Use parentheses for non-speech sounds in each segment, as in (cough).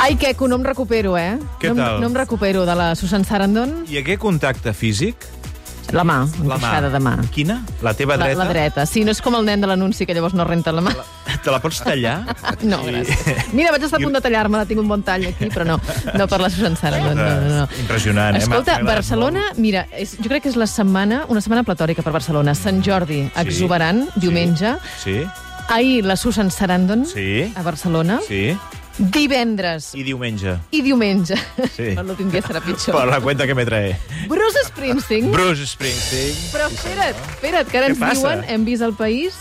Ai, Queco, no em recupero, eh? Què no, em- tal? no em recupero de la Susan Sarandon. Hi hagué contacte físic? La mà, encaixada de mà. Quina? La teva La, dreta? la dreta. Sí, no és com el nen de l'anunci, que llavors no renta la mà. Te la pots tallar? (laughs) No, gràcies. Mira, vaig estar a punt de tallar-me, tinc un bon tall aquí, però no, no per la Susan Sarandon. No, no, no. Impressionant, eh? Escolta, M'ha agradat Barcelona, mira, és, jo crec que és la setmana, una setmana platòrica per Barcelona. Sant Jordi, exuberant, sí. diumenge. Sí, Ahir, la Susan Sarandon, Sí. a Barcelona. sí. Divendres I diumenge. i diumenge. Sí. (laughs) No, L'últim dia serà pitjor. Per la cuenta que me trae. Bruce Springsteen. Bruce Springsteen. Però espera't, espera't, que ara Què ens passa? diuen, hem vist al país,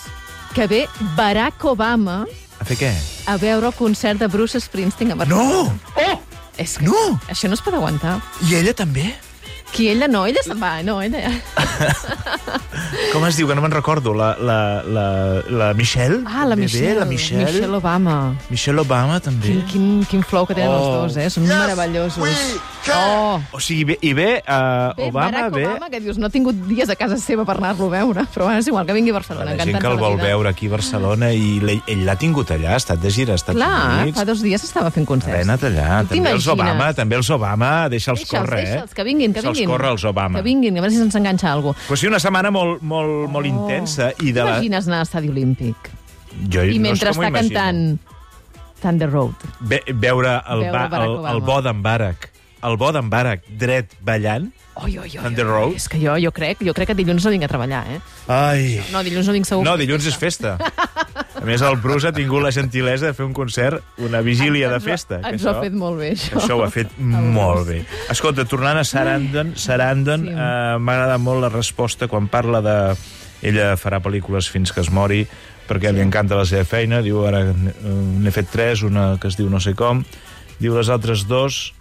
que ve Barack Obama A fer què? a veure el concert de Bruce Springsteen a Barcelona. No! Oh! És que No! Això no es pot aguantar. I ella també? Qui ella no, ella se'n va, no, ella... Com es diu, que no me'n recordo, la, la, la, la Michelle? Ah, la Bé, bé, Michelle. La Michelle. Michelle Michelle, Obama. Obama, també. Quin, quin, quin flow que tenen Oh. els dos, eh? Són yes, meravellosos. Oh, O sigui, ve- i ve uh, Bé, Obama, Barack ve... Obama, que dius, no ha tingut dies a casa seva per anar-lo a veure, però bueno, és igual, que vingui a Barcelona. La gent encantats que el de la vol vida. veure aquí a Barcelona i l'ell- ell l'ha tingut allà, ha estat de gira als Estats Clar, Units. fa dos dies estava fent Haver concerts. anat allà. Tu També els t'imagines? Obama, també els Obama, deixa'ls Deixa'ls, córrer, eh? deixa'ls, que vinguin, que vinguin. Deixa'ls córrer els Obama. Que vinguin, a veure si se'ns enganxa alguna cosa. Pues sí, una setmana molt, molt, molt intensa. I de la... T'imagines anar a l'estadi olímpic Jo, i mentre no sé està com ho imagino. cantant Thunder Road. Ve, veure el, Veure ba, Barack el, el Obama. bo d'en Barak, el bo d'en Barak, dret, ballant. Oi, oi, oi, oi. Thunder Road? És que jo, jo crec, jo crec que dilluns no vinc a treballar, eh? Ai... No, dilluns no vinc segur. No, dilluns és festa. A més, el Bruce ha tingut la gentilesa de fer un concert, una vigília de Ens ho- festa. que Ens ho això- ha fet molt bé, això. Això ho ha fet molt bé. Escolta, tornant a Sarandon, Sarandon Sí. eh, m'ha agradat molt la resposta quan parla de... Ella farà pel·lícules fins que es mori, perquè li encanta la seva feina. Diu, ara eh, n'he fet tres, una que es diu no sé com. Diu les altres dos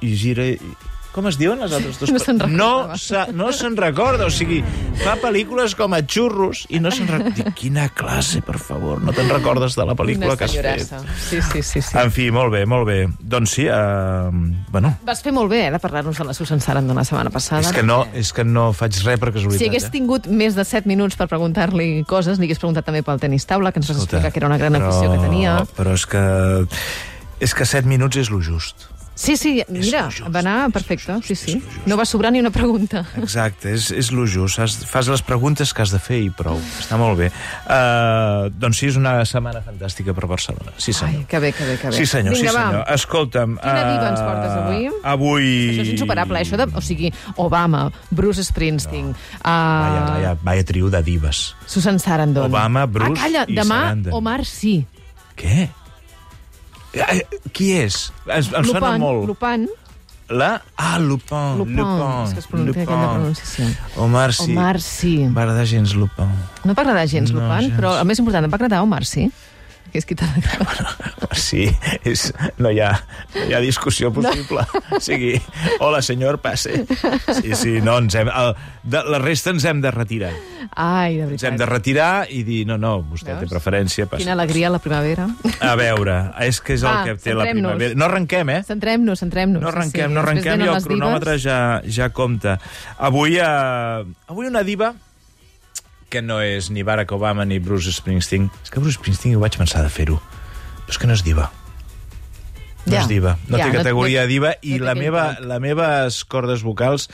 i gira... i- Com es diuen les altres dos? No se'n recorda. No se- no se'n recorda, o sigui, fa pel·lícules com a xurros i no se'n recorda. Dic, Quina classe, per favor, no te'n recordes de la Una pel·lícula que has fet. senyorassa. Sí, sí, sí. sí. En fi, molt bé, molt bé. Doncs sí, eh, bueno, Vas fer molt bé, eh, de parlar-nos de la Susan Sarandon la setmana passada. és que, no, és que no faig res per casualitat. Si hagués eh? tingut més de 7 minuts per preguntar-li coses, li hagués preguntat també pel tenis taula, que ens vas Escolta, explicar que era una gran afició que tenia. Però és que... És que 7 minuts és lo just. Sí, sí, mira, lo just, va anar és perfecte, lo just, sí, sí. és lo just. No va sobrar ni una pregunta. Exacte, és, és lo just. Has, fas les preguntes que has de fer i prou. Està molt bé. Uh, doncs sí, és una setmana fantàstica per Barcelona. Sí, senyor. Ai, que bé, que bé, que bé. Sí, senyor, Vinga, sí, senyor. Va. Escolta'm... Quina diva ens eh, portes avui? Avui... Això és insuperable, eh, això de... O sigui, Obama, Bruce Springsteen, no. Vaya, uh, vaya, vaya trio de divas. Susan Sarandon... Obama, Bruce ah, calla, i demà Sarandon. Omar sí. Què? Eh, Qui és? Es, em sona Lupin, molt. Lupin, La... Ah, Lupin. Lupin, és que es pronuncia aquella pronunciació. Omar, sí. Omar sí. M'agrada gens Lupin. (laughs) No t'agrada gens, No, Lupin, gens. però el més important, et va agradar Omar sí? Que és qui t'ha agradat. Sí, és, no, hi ha, no hi ha discussió (laughs) possible. No. O sigui, hola, senyor, passe. Sí, sí, no, ens hem, el, de, la resta ens hem de retirar. Ai, de Ens veritat. hem de retirar i dir, no, no, vostè Veus? té preferència, passi. Quina alegria la primavera. A veure, és que és el Va, que té la centrem-nos. primavera. No arrenquem, eh? Centrem-nos, centrem-nos. No arrenquem, no Després arrenquem i venen el les divas. cronòmetre ja, ja compta. Avui, eh, avui una diva que no és ni Barack Obama ni Bruce Springsteen. És que Bruce Springsteen ho vaig pensar de fer-ho. Però és que no és diva. No Ja, és diva. No ja, té categoria no- diva no i té la aquell meva, toc. la meves cordes vocals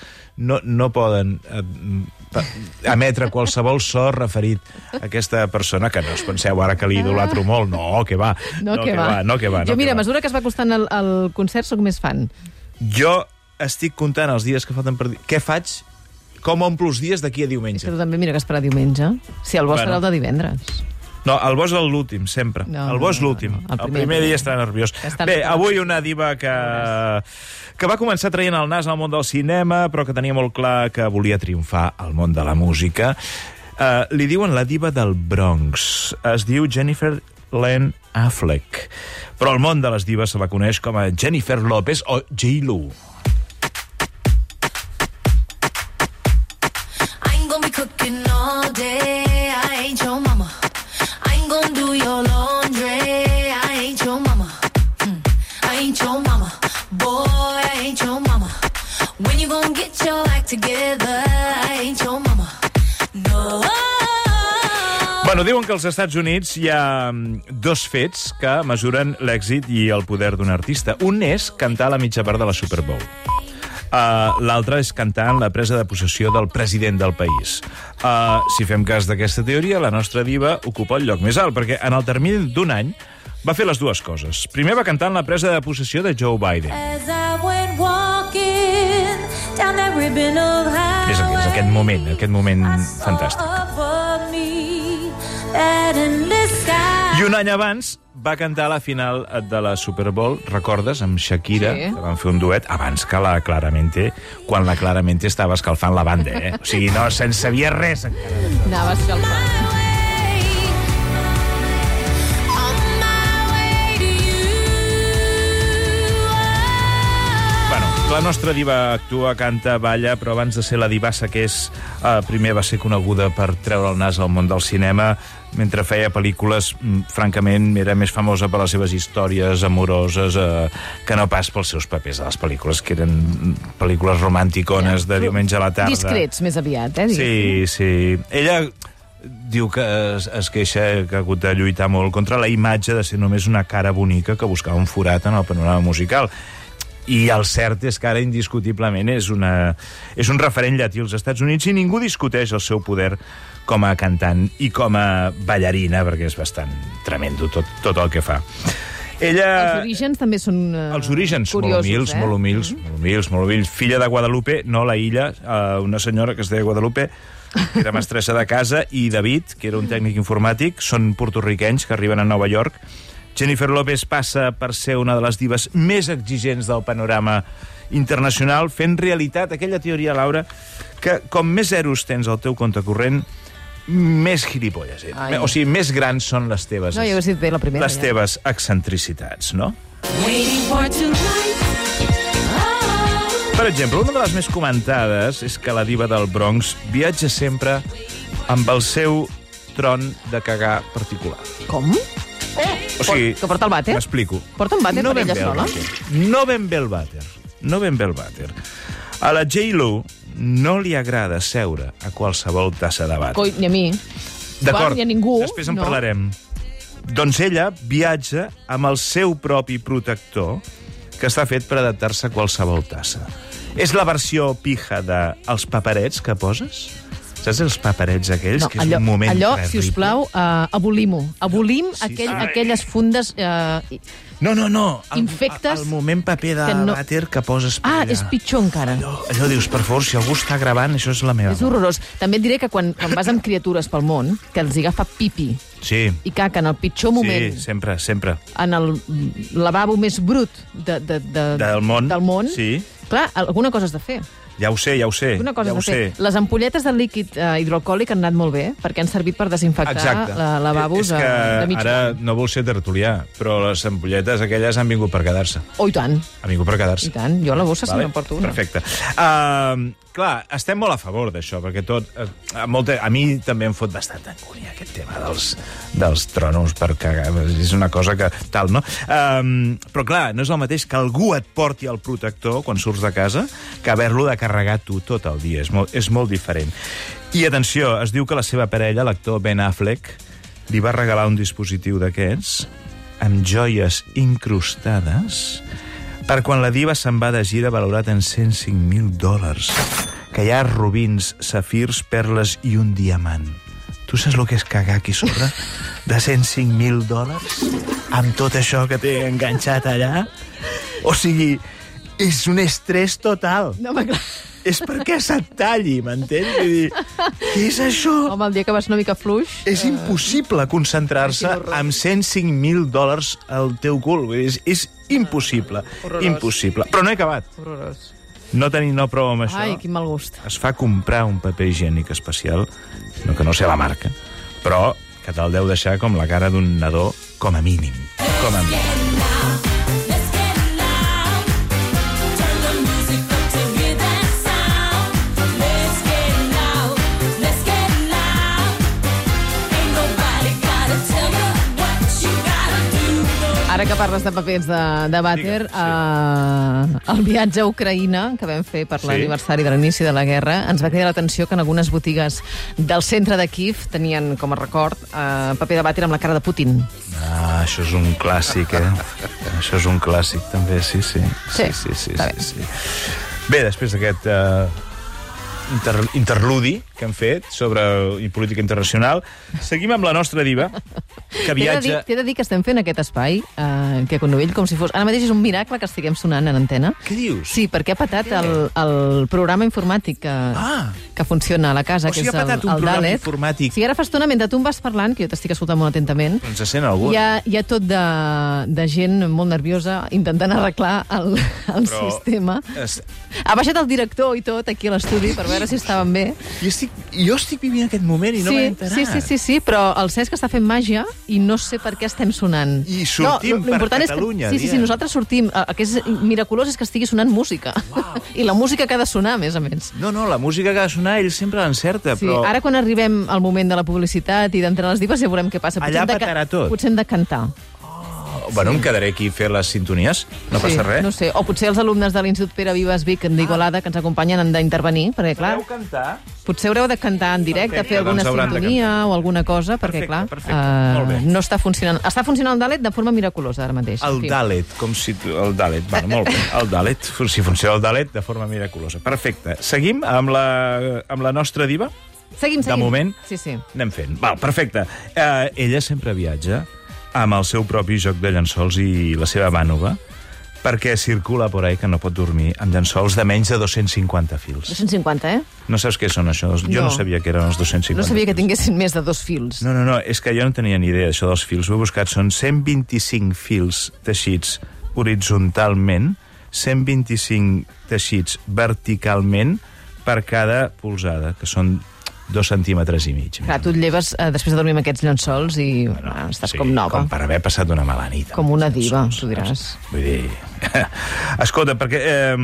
no, no poden eh, pa- emetre qualsevol so referit a aquesta persona, que no us penseu ara que li idolatro molt. No, que va. No, que, va. No, que va. Jo, no, mira, que a va. mesura que es va acostant al, al concert, sóc més fan. Jo estic comptant els dies que falten per... di- Què faig? Com omplo els dies d'aquí a És que diumenge? tu també mira que esperar diumenge. Si el bo Bueno. serà el de divendres. No, el bo és l'últim, sempre. No, el bo és no, no, l'últim. no, El, primer, dia estarà nerviós. Estan Bé, nerviós. avui una diva que, que va començar traient el nas al món del cinema, però que tenia molt clar que volia triomfar al món de la música. Uh, li diuen la diva del Bronx. Es diu Jennifer Len Affleck. Però al món de les dives se la coneix com a Jennifer López o J-Lo. I ain't gonna be cooking all day. I ain't your mama. I ain't gonna do your laundry. I ain't your mama. Mm. I ain't your mama. Boy, I ain't your mama. When you gonna get your act together? I ain't your mama. No. Bueno, diuen que als Estats Units hi ha mm, dos fets que mesuren l'èxit i el poder d'un artista. Un és cantar a la mitja part de la Super Bowl. Uh, L'altre és cantar en la presa de possessió del president del país. Uh, si fem cas d'aquesta teoria, la nostra diva ocupa el lloc més alt, perquè en el termini d'un any va fer les dues coses. Primer va cantar en la presa de possessió de Joe Biden. As I went walking down that ribbon of highway, És aquest, és aquest moment, aquest moment fantàstic. above me that endless sky. I un any abans va cantar a la final de la Super Bowl, recordes, amb Shakira, Sí. sí. que van fer un duet abans que la Claramente, quan la Claramente estava escalfant la banda, eh? O sigui, no se'n sabia res encara. Anava a escalfar. On my way to you. Bueno, la nostra diva actua, canta, balla, però abans de ser la divassa que és, eh, primer va ser coneguda per treure el nas al món del cinema, mentre feia pel·lícules, mm, francament, era més famosa per les seves històries amoroses eh, que no pas pels seus papers a les pel·lícules, que eren mm, pel·lícules romànticones de diumenge a la tarda. Discrets, més aviat, eh? diguéssim. Sí, sí. Ella diu que es, es queixa que ha hagut de lluitar molt contra la imatge de ser només una cara bonica que buscava un forat en el panorama musical. I el cert és que ara indiscutiblement és, una, és un referent llatí als Estats Units i ningú discuteix el seu poder com a cantant i com a ballarina, perquè és bastant tremendo tot, tot el que fa. Els Ella... orígens també són eh, Els orígens, curiosos, molt humils, eh? molt humils, molt humils, molt humils. Filla de Guadalupe, no la illa, eh, una senyora que es deia Guadalupe, que era mestressa de casa, i David, que era un tècnic informàtic, són portorriquenys que arriben a Nova York. Jennifer López passa per ser una de les divas més exigents del panorama internacional, fent realitat aquella teoria, Laura, que com més zeros tens al teu compte corrent, més gilipolles ets. Ai. O sigui, més grans són les teves, No, jo hauria dit bé la primera. les teves excentricitats, no? Waiting for tonight. Oh, Per exemple, una de les més comentades és que la diva del Bronx viatja sempre amb el seu tron de cagar particular. Com? O sigui, que porta el vàter? M'explico. Porta un vàter per ben ella bé el sola? vàter. No ben bé el vàter. No ben bé el vàter. A la J-Lo no li agrada seure a qualsevol tassa de vàter. Coi, ni a mi. D'acord, Ni a ningú. després en no. parlarem. Doncs ella viatja amb el seu propi protector que està fet per adaptar-se a qualsevol tassa. És la versió pija dels Els paperets que poses? Saps els paperets aquells? No, que és allò, un moment allò terrible. si us plau, uh, abolim-ho. Abolim aquell, sí. aquelles fundes... Uh, No, no, no. El, Infectes El, el moment paper de que no- no... vàter que poses per ah, allà. és pitjor encara. Allò, allò dius, per favor, si algú està gravant, això és la meva. És horrorós. També et diré que quan, quan vas amb criatures pel món, que els hi agafa pipi Sí, i caca en el pitjor moment, sí, sempre, sempre. en el lavabo més brut de, de, de, Del món, del món sí. clar, alguna cosa has de fer. Ja ho sé, ja ho sé. Una cosa ja ho has de fer. sé. Les ampolletes de líquid eh, hidroalcohòlic han anat molt bé, perquè han servit per desinfectar la, lavabos és que eh, de mig ara món. no vol ser tertulià, però les ampolletes aquelles han vingut per quedar-se. Oh, i tant, Han vingut per i quedar-se. tant. Jo a la bossa vale. se me'n porto una. Perfecte. Uh, clar, estem molt a favor d'això, perquè tot... Uh, a, molta, a mi també em fot bastant d'angúnia aquest tema dels, dels trònols, perquè és una cosa que tal, no? Um, però clar, no és el mateix que algú et porti el protector quan surts de casa que haver-lo de carregar tu tot el dia. És molt, és molt diferent. I atenció, es diu que la seva parella, l'actor Ben Affleck, li va regalar un dispositiu d'aquests amb joies incrustades per quan la diva se'n va de gira valorat en 105.000 dòlars, que hi ha rubins, safirs, perles i un diamant. Tu saps el que és cagar aquí sobre? De 105.000 dòlars? Amb tot això que té enganxat allà? O sigui, és un estrès total. No, home, clar. És perquè se't talli, m'entens? Vull dir, què és això? Home, el dia que vas una mica fluix... És impossible concentrar-se amb 105.000 dòlars al teu cul. Vull dir, És, és impossible. Ah, Impossible. Però no he acabat. Horrorós. No tenir no prou amb això. Ai, quin mal gust. Es fa comprar un paper higiènic especial, no que no sé la marca, però que te'l deu deixar com la cara d'un nadó, com a mínim. Com a mínim. Let's get loud. Turn the music up to hear that sound. Let's get loud. Let's get loud. Ain't nobody gotta tell you what you gotta do. No. Ara que parles de papers de, de vàter, Digue'm, sí. eh, el viatge a Ucraïna que vam fer per Sí. l'aniversari de l'inici de la guerra ens va cridar l'atenció que en algunes botigues del centre de Kiev tenien com a record eh, paper de vàter amb la cara de Putin. Ah, això és un clàssic, eh? això és un clàssic, també, sí, sí. Sí, sí, sí, està sí, sí. Bé, després d'aquest eh, inter interludi que hem fet sobre i política internacional, seguim amb la nostra diva, que T'he de, dir, viatja... t'he de dir que estem fent aquest espai, eh, que Conovell, com si fos... Ara mateix és un miracle que estiguem sonant en antena. Què dius? Sí, perquè ha patat el, el programa informàtic que, Ah. que funciona a la casa, O que sigui, és ha patat el, un el programa Dalet. informàtic. Sí, ara fa estona, mentre tu em vas parlant, que jo t'estic escoltant molt atentament, Ens Doncs sent algú? hi ha, hi ha tot de, de gent molt nerviosa intentant arreglar el, el Però- sistema. Es- Ha baixat el director i tot aquí a l'estudi per veure si estaven bé. Jo estic, jo estic vivint aquest moment i no m'he sí, enterat. sí, sí, sí, sí, però el Cesc està fent màgia i no sé per què estem sonant. I sortim no, per l'important és Catalunya, Que, sí, sí, sí, diem. nosaltres sortim. eh, El que és miraculós és que estigui sonant música. (laughs) I la música que ha de sonar, a més a més. No, no, la música que ha de sonar ell sempre l'encerta, Sí, però... Ara quan arribem al moment de la publicitat i d'entrar a les divas ja veurem què passa. Allà hem de ca- petarà tot. Potser hem de cantar. oh, Bueno, em quedaré aquí a fer les sintonies, no sí, passa res. No sé. O potser els alumnes de l'Institut Pere Vives Vic d'Igualada que ens acompanyen han d'intervenir, perquè clar, cantar? potser haureu de cantar en directe, Perfecte, fer alguna doncs hauran de sintonia o alguna cosa, perquè Perfecte, clar, perfecte. eh, Molt bé. no està funcionant. Està funcionant el Dalet de forma miraculosa ara mateix. El En fi. Dalet, com si... tu- El Dalet, bueno, molt bé. (laughs) El Dalet, si funciona el Dalet, de forma miraculosa. Perfecte. Seguim amb la, amb la nostra diva? Seguim, De seguim. moment. Sí, sí. Anem fent. Val, perfecte. Eh, ella sempre viatja amb el seu propi joc de llençols i la seva mànova, perquè circula por ahí que no pot dormir amb llençols de menys de 250 fils. 250, eh? No saps què són això? Jo No. no, sabia que eren els 250 No sabia que fils. tinguessin més de dos fils. No, no, no, és que jo no tenia ni idea d'això dels fils. Ho he buscat. Són 125 fils teixits horitzontalment, 125 teixits verticalment per cada polzada, que són dos centímetres i mig. Clar, tu et lleves eh, després de dormir amb aquests llençols i bueno, ah, estàs com nova. Com per haver passat una mala nit. Com una diva, Saps? tu diràs. Vull dir... (laughs) Escolta, perquè eh,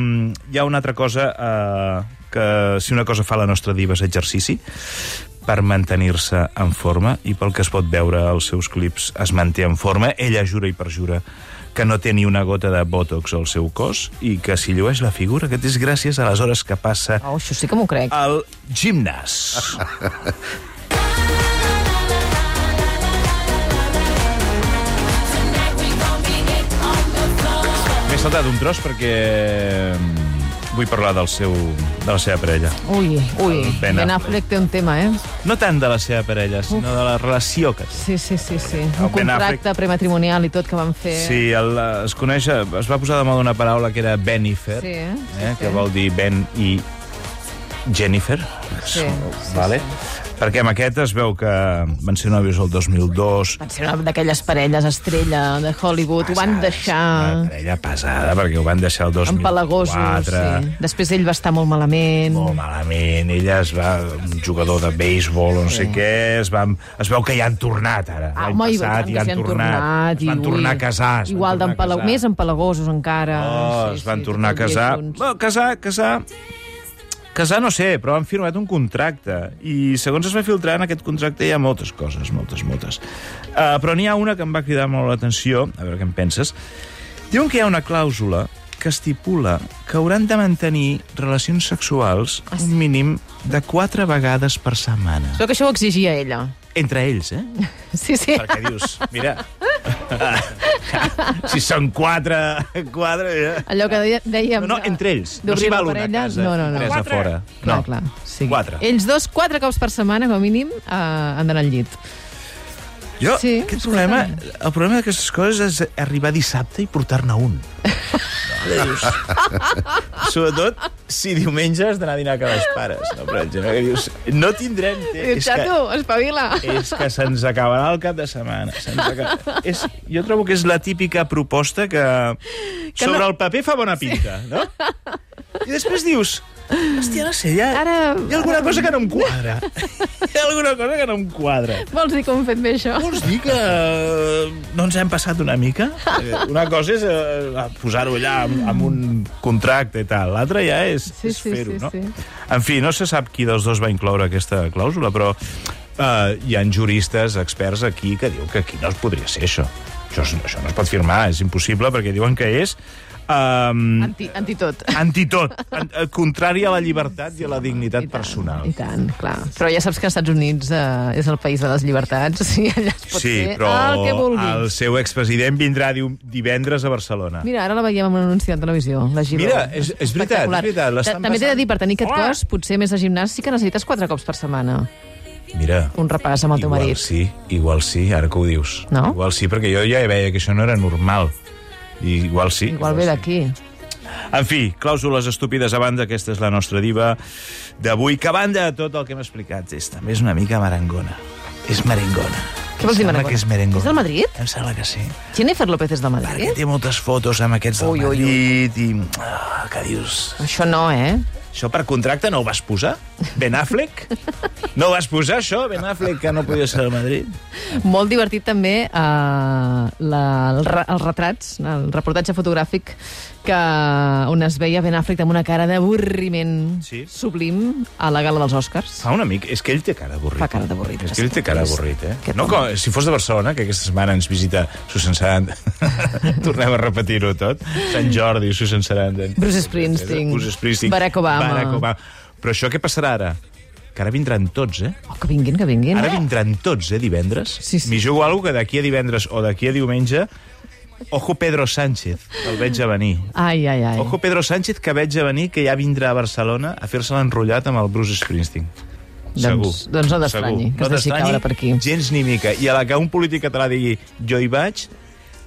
hi ha una altra cosa eh, que si una cosa fa la nostra diva és exercici, per mantenir-se en forma i pel que es pot veure als seus clips es manté en forma. Ella jura i perjura que no té ni una gota de botox al seu cos i que si llueix la figura, que és gràcies a les hores que passa Oh, això sí que m'ho crec. al gimnàs. M'he saltat un tros perquè mm, vull parlar del seu, de la seva parella. Ui, ui, el Ben Ben, Affleck. Affleck té un tema, eh? No tant de la seva parella, sinó de la relació que té. Sí, sí, sí, sí. Ben Un contracte prematrimonial i tot que van fer. Sí, el, eh, es coneix, eh, es va posar de moda una paraula que era Benifer, Sí, eh? Sí, eh? sí. que vol dir Ben i Jennifer. Sí, sí, vale? Perquè amb aquest es veu que van ser nòvios el 2002. Van ser una d'aquelles parelles estrella de Hollywood. Ho van Una deixar parella pesada, perquè ho van deixar el 2004. empalagosos. Sí. Després ell va estar molt malament. molt Oh, malament, ella es va... un jugador de béisbol o no sé què, es, va, es veu que ja han tornat ara. Ah, L'any home, i passat tant, ja que s'hi han tornat. es i van ui, tornar a casar. es van Igual tornar a d'empala- casar. més empalagosos encara. Oh, sí, es van sí, tornar a Ah, tot el dia casar. junts. Bueno, casar, casar... Casar no sé, però han firmat un contracte i segons es va filtrar en aquest contracte hi ha moltes coses, moltes, moltes. Uh, però n'hi ha una que em va cridar molt l'atenció, a veure què en penses. Diuen que hi ha una clàusula que estipula que hauran de mantenir relacions sexuals Ah, sí? un mínim de quatre vegades per setmana. Sóc que això ho exigia ella. (laughs) Entre ells, eh? Sí, sí. Perquè dius, mira... (laughs) si són quatre... quatre ja. Allò que deia- dèiem... No, no, de- entre ells. No d'obrir s'hi la val una a parella. casa No, no, i no. tres a Quatre. fora. Clar, no. clar. Sí. Quatre. Ells dos, quatre cops per setmana, com a mínim, eh, han d'anar al llit. Jo, Sí, aquest escolta. problema, el problema d'aquestes coses és arribar dissabte i portar-ne (laughs) un. Dius. (laughs) Sobretot si diumenge has d'anar a dinar a casa dels pares. No, per exemple, que dius, no tindrem Diu, temps. xato, espavila. és que se'ns acabarà el cap de setmana. Se'ns acabarà. És, jo trobo que és la típica proposta que, que Que sobre no- no... el paper fa bona pinta, sí. no? I després dius, hòstia, no sé, hi ha, Ara... Ara- hi ha alguna cosa que no em quadra. Hi ha alguna cosa que no em quadra. Vols dir com hem fet bé això? Vols dir que eh, no ens hem passat una mica? Eh, Una cosa és eh, posar-ho allà amb, amb un contracte i tal, l'altra ja és, Sí, és sí, fer-ho, sí, no? sí. En fi, no se sap qui dels dos va incloure aquesta clàusula, però eh, hi han juristes, experts aquí, que diu que aquí no es podria ser això. Això, és- això no es pot firmar, és impossible, perquè diuen que és... Um, Anti, anti tot. antitot, an, eh, contrari a la llibertat i a la dignitat personal. I tant, clar. Però ja saps que als Estats Units eh, és el país de les llibertats (laughs) i allà es pot Sí, fer però el que vulguis. el seu expresident vindrà diu- divendres a Barcelona. Mira, ara la veiem en un anunci de televisió, la Giro. Mira, és- és veritat, és veritat, l'estan També t'he de passant. dir, per tenir aquest Hola. cos, potser més de gimnàs, sí que necessites quatre cops per setmana. Mira, Un repàs amb el teu igual marit. sí, igual sí, ara que ho dius. No? Igual sí, perquè jo ja veia que això no era normal. I igual sí. Igual ve sí. d'aquí. En fi, clàusules estúpides a banda, aquesta és la nostra diva d'avui, que a banda de tot el que hem explicat és també és una mica marangona. És merengona. Què vols dir, Em sembla marangona? Que és merengona. És del Madrid? Em sembla que sí. Jennifer López és de Perquè Madrid? té moltes fotos amb aquests del Ui, ui, ui. Madrid i... Ah, que dius... Això no, eh? Això per contracte no ho vas posar? Ben Affleck? No ho vas posar, això? Ben Affleck, que no podia ser al Madrid? Molt divertit també eh, la, el, re- els retrats, el reportatge fotogràfic que, on es veia Ben Affleck amb una cara d'avorriment Sí. sublim a la gala dels Oscars. Fa una mica... És que ell té cara avorrit. Fa cara d'avorrit, És que ell té sí. cara avorrit, eh? Que No, com, si fos de Barcelona, que aquesta setmana ens visita Susan Sarandon... (laughs) Tornem a repetir-ho tot. Sant Jordi, Susan Sarandon... Bruce Springsteen. Bruce Springsteen. Barack Obama. Barack Obama. Però això què passarà ara? Que ara vindran tots, eh? Oh, que vinguin, que vinguin. Ara vindran tots, eh, divendres. Sí, sí. M'hi jugo alguna que d'aquí a divendres o d'aquí a diumenge... Ojo Pedro Sánchez, el veig a venir. Ai, ai, ai. Ojo Pedro Sánchez, que veig a venir, que ja vindrà a Barcelona a fer-se l'enrotllat amb el Bruce Springsteen. Doncs- doncs no t'estranyi, segur. que es deixi t'estranyi caure per aquí. Gens ni mica. I a la que un polític català digui jo hi vaig,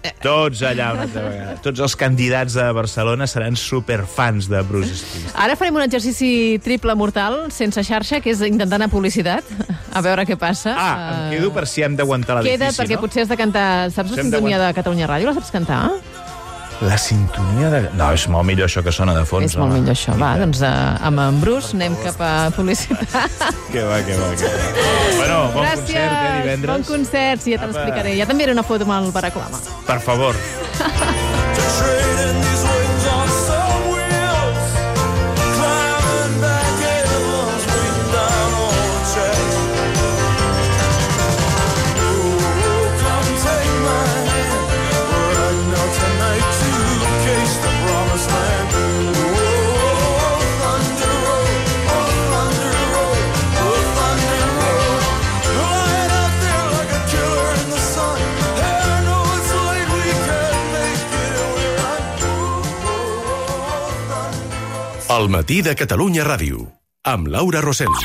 Eh. tots allà una altra vegada. Tots els candidats de Barcelona seran superfans de Bruce Springsteen. Ara farem un exercici triple mortal, sense xarxa, que és intentar anar a publicitat, (laughs) a veure què passa. Ah, em Eh, quedo per si hem d'aguantar l'edifici, Queda't, no? perquè potser has de cantar... Saps la Potser hem sintonia d'aguantar. de Catalunya Ràdio? La saps cantar? La sintonia de... No, és molt millor això que sona de fons. És molt home. millor això. Va, doncs eh, amb en Bruce anem cap a publicitat. Que va, que va, que va. Bueno, bon Gràcies. concert, eh, divendres. Bon concert, sí, ja te Apa. l'explicaré. Ja també era una foto amb el Barack Obama. Per favor. Trading these wings on some wheels, climbing back heaven's wing down on the track. Ooh, come take my hand, we're riding out tonight to case the promised land. Ooh, thunder road, oh thunder road, oh thunder road. You're lying out there like a killer in the sun. Hey, I know it's late, we can't make it, and we're on. Ooh, thunder road. El matí de Catalunya Ràdio, amb Laura Rosell.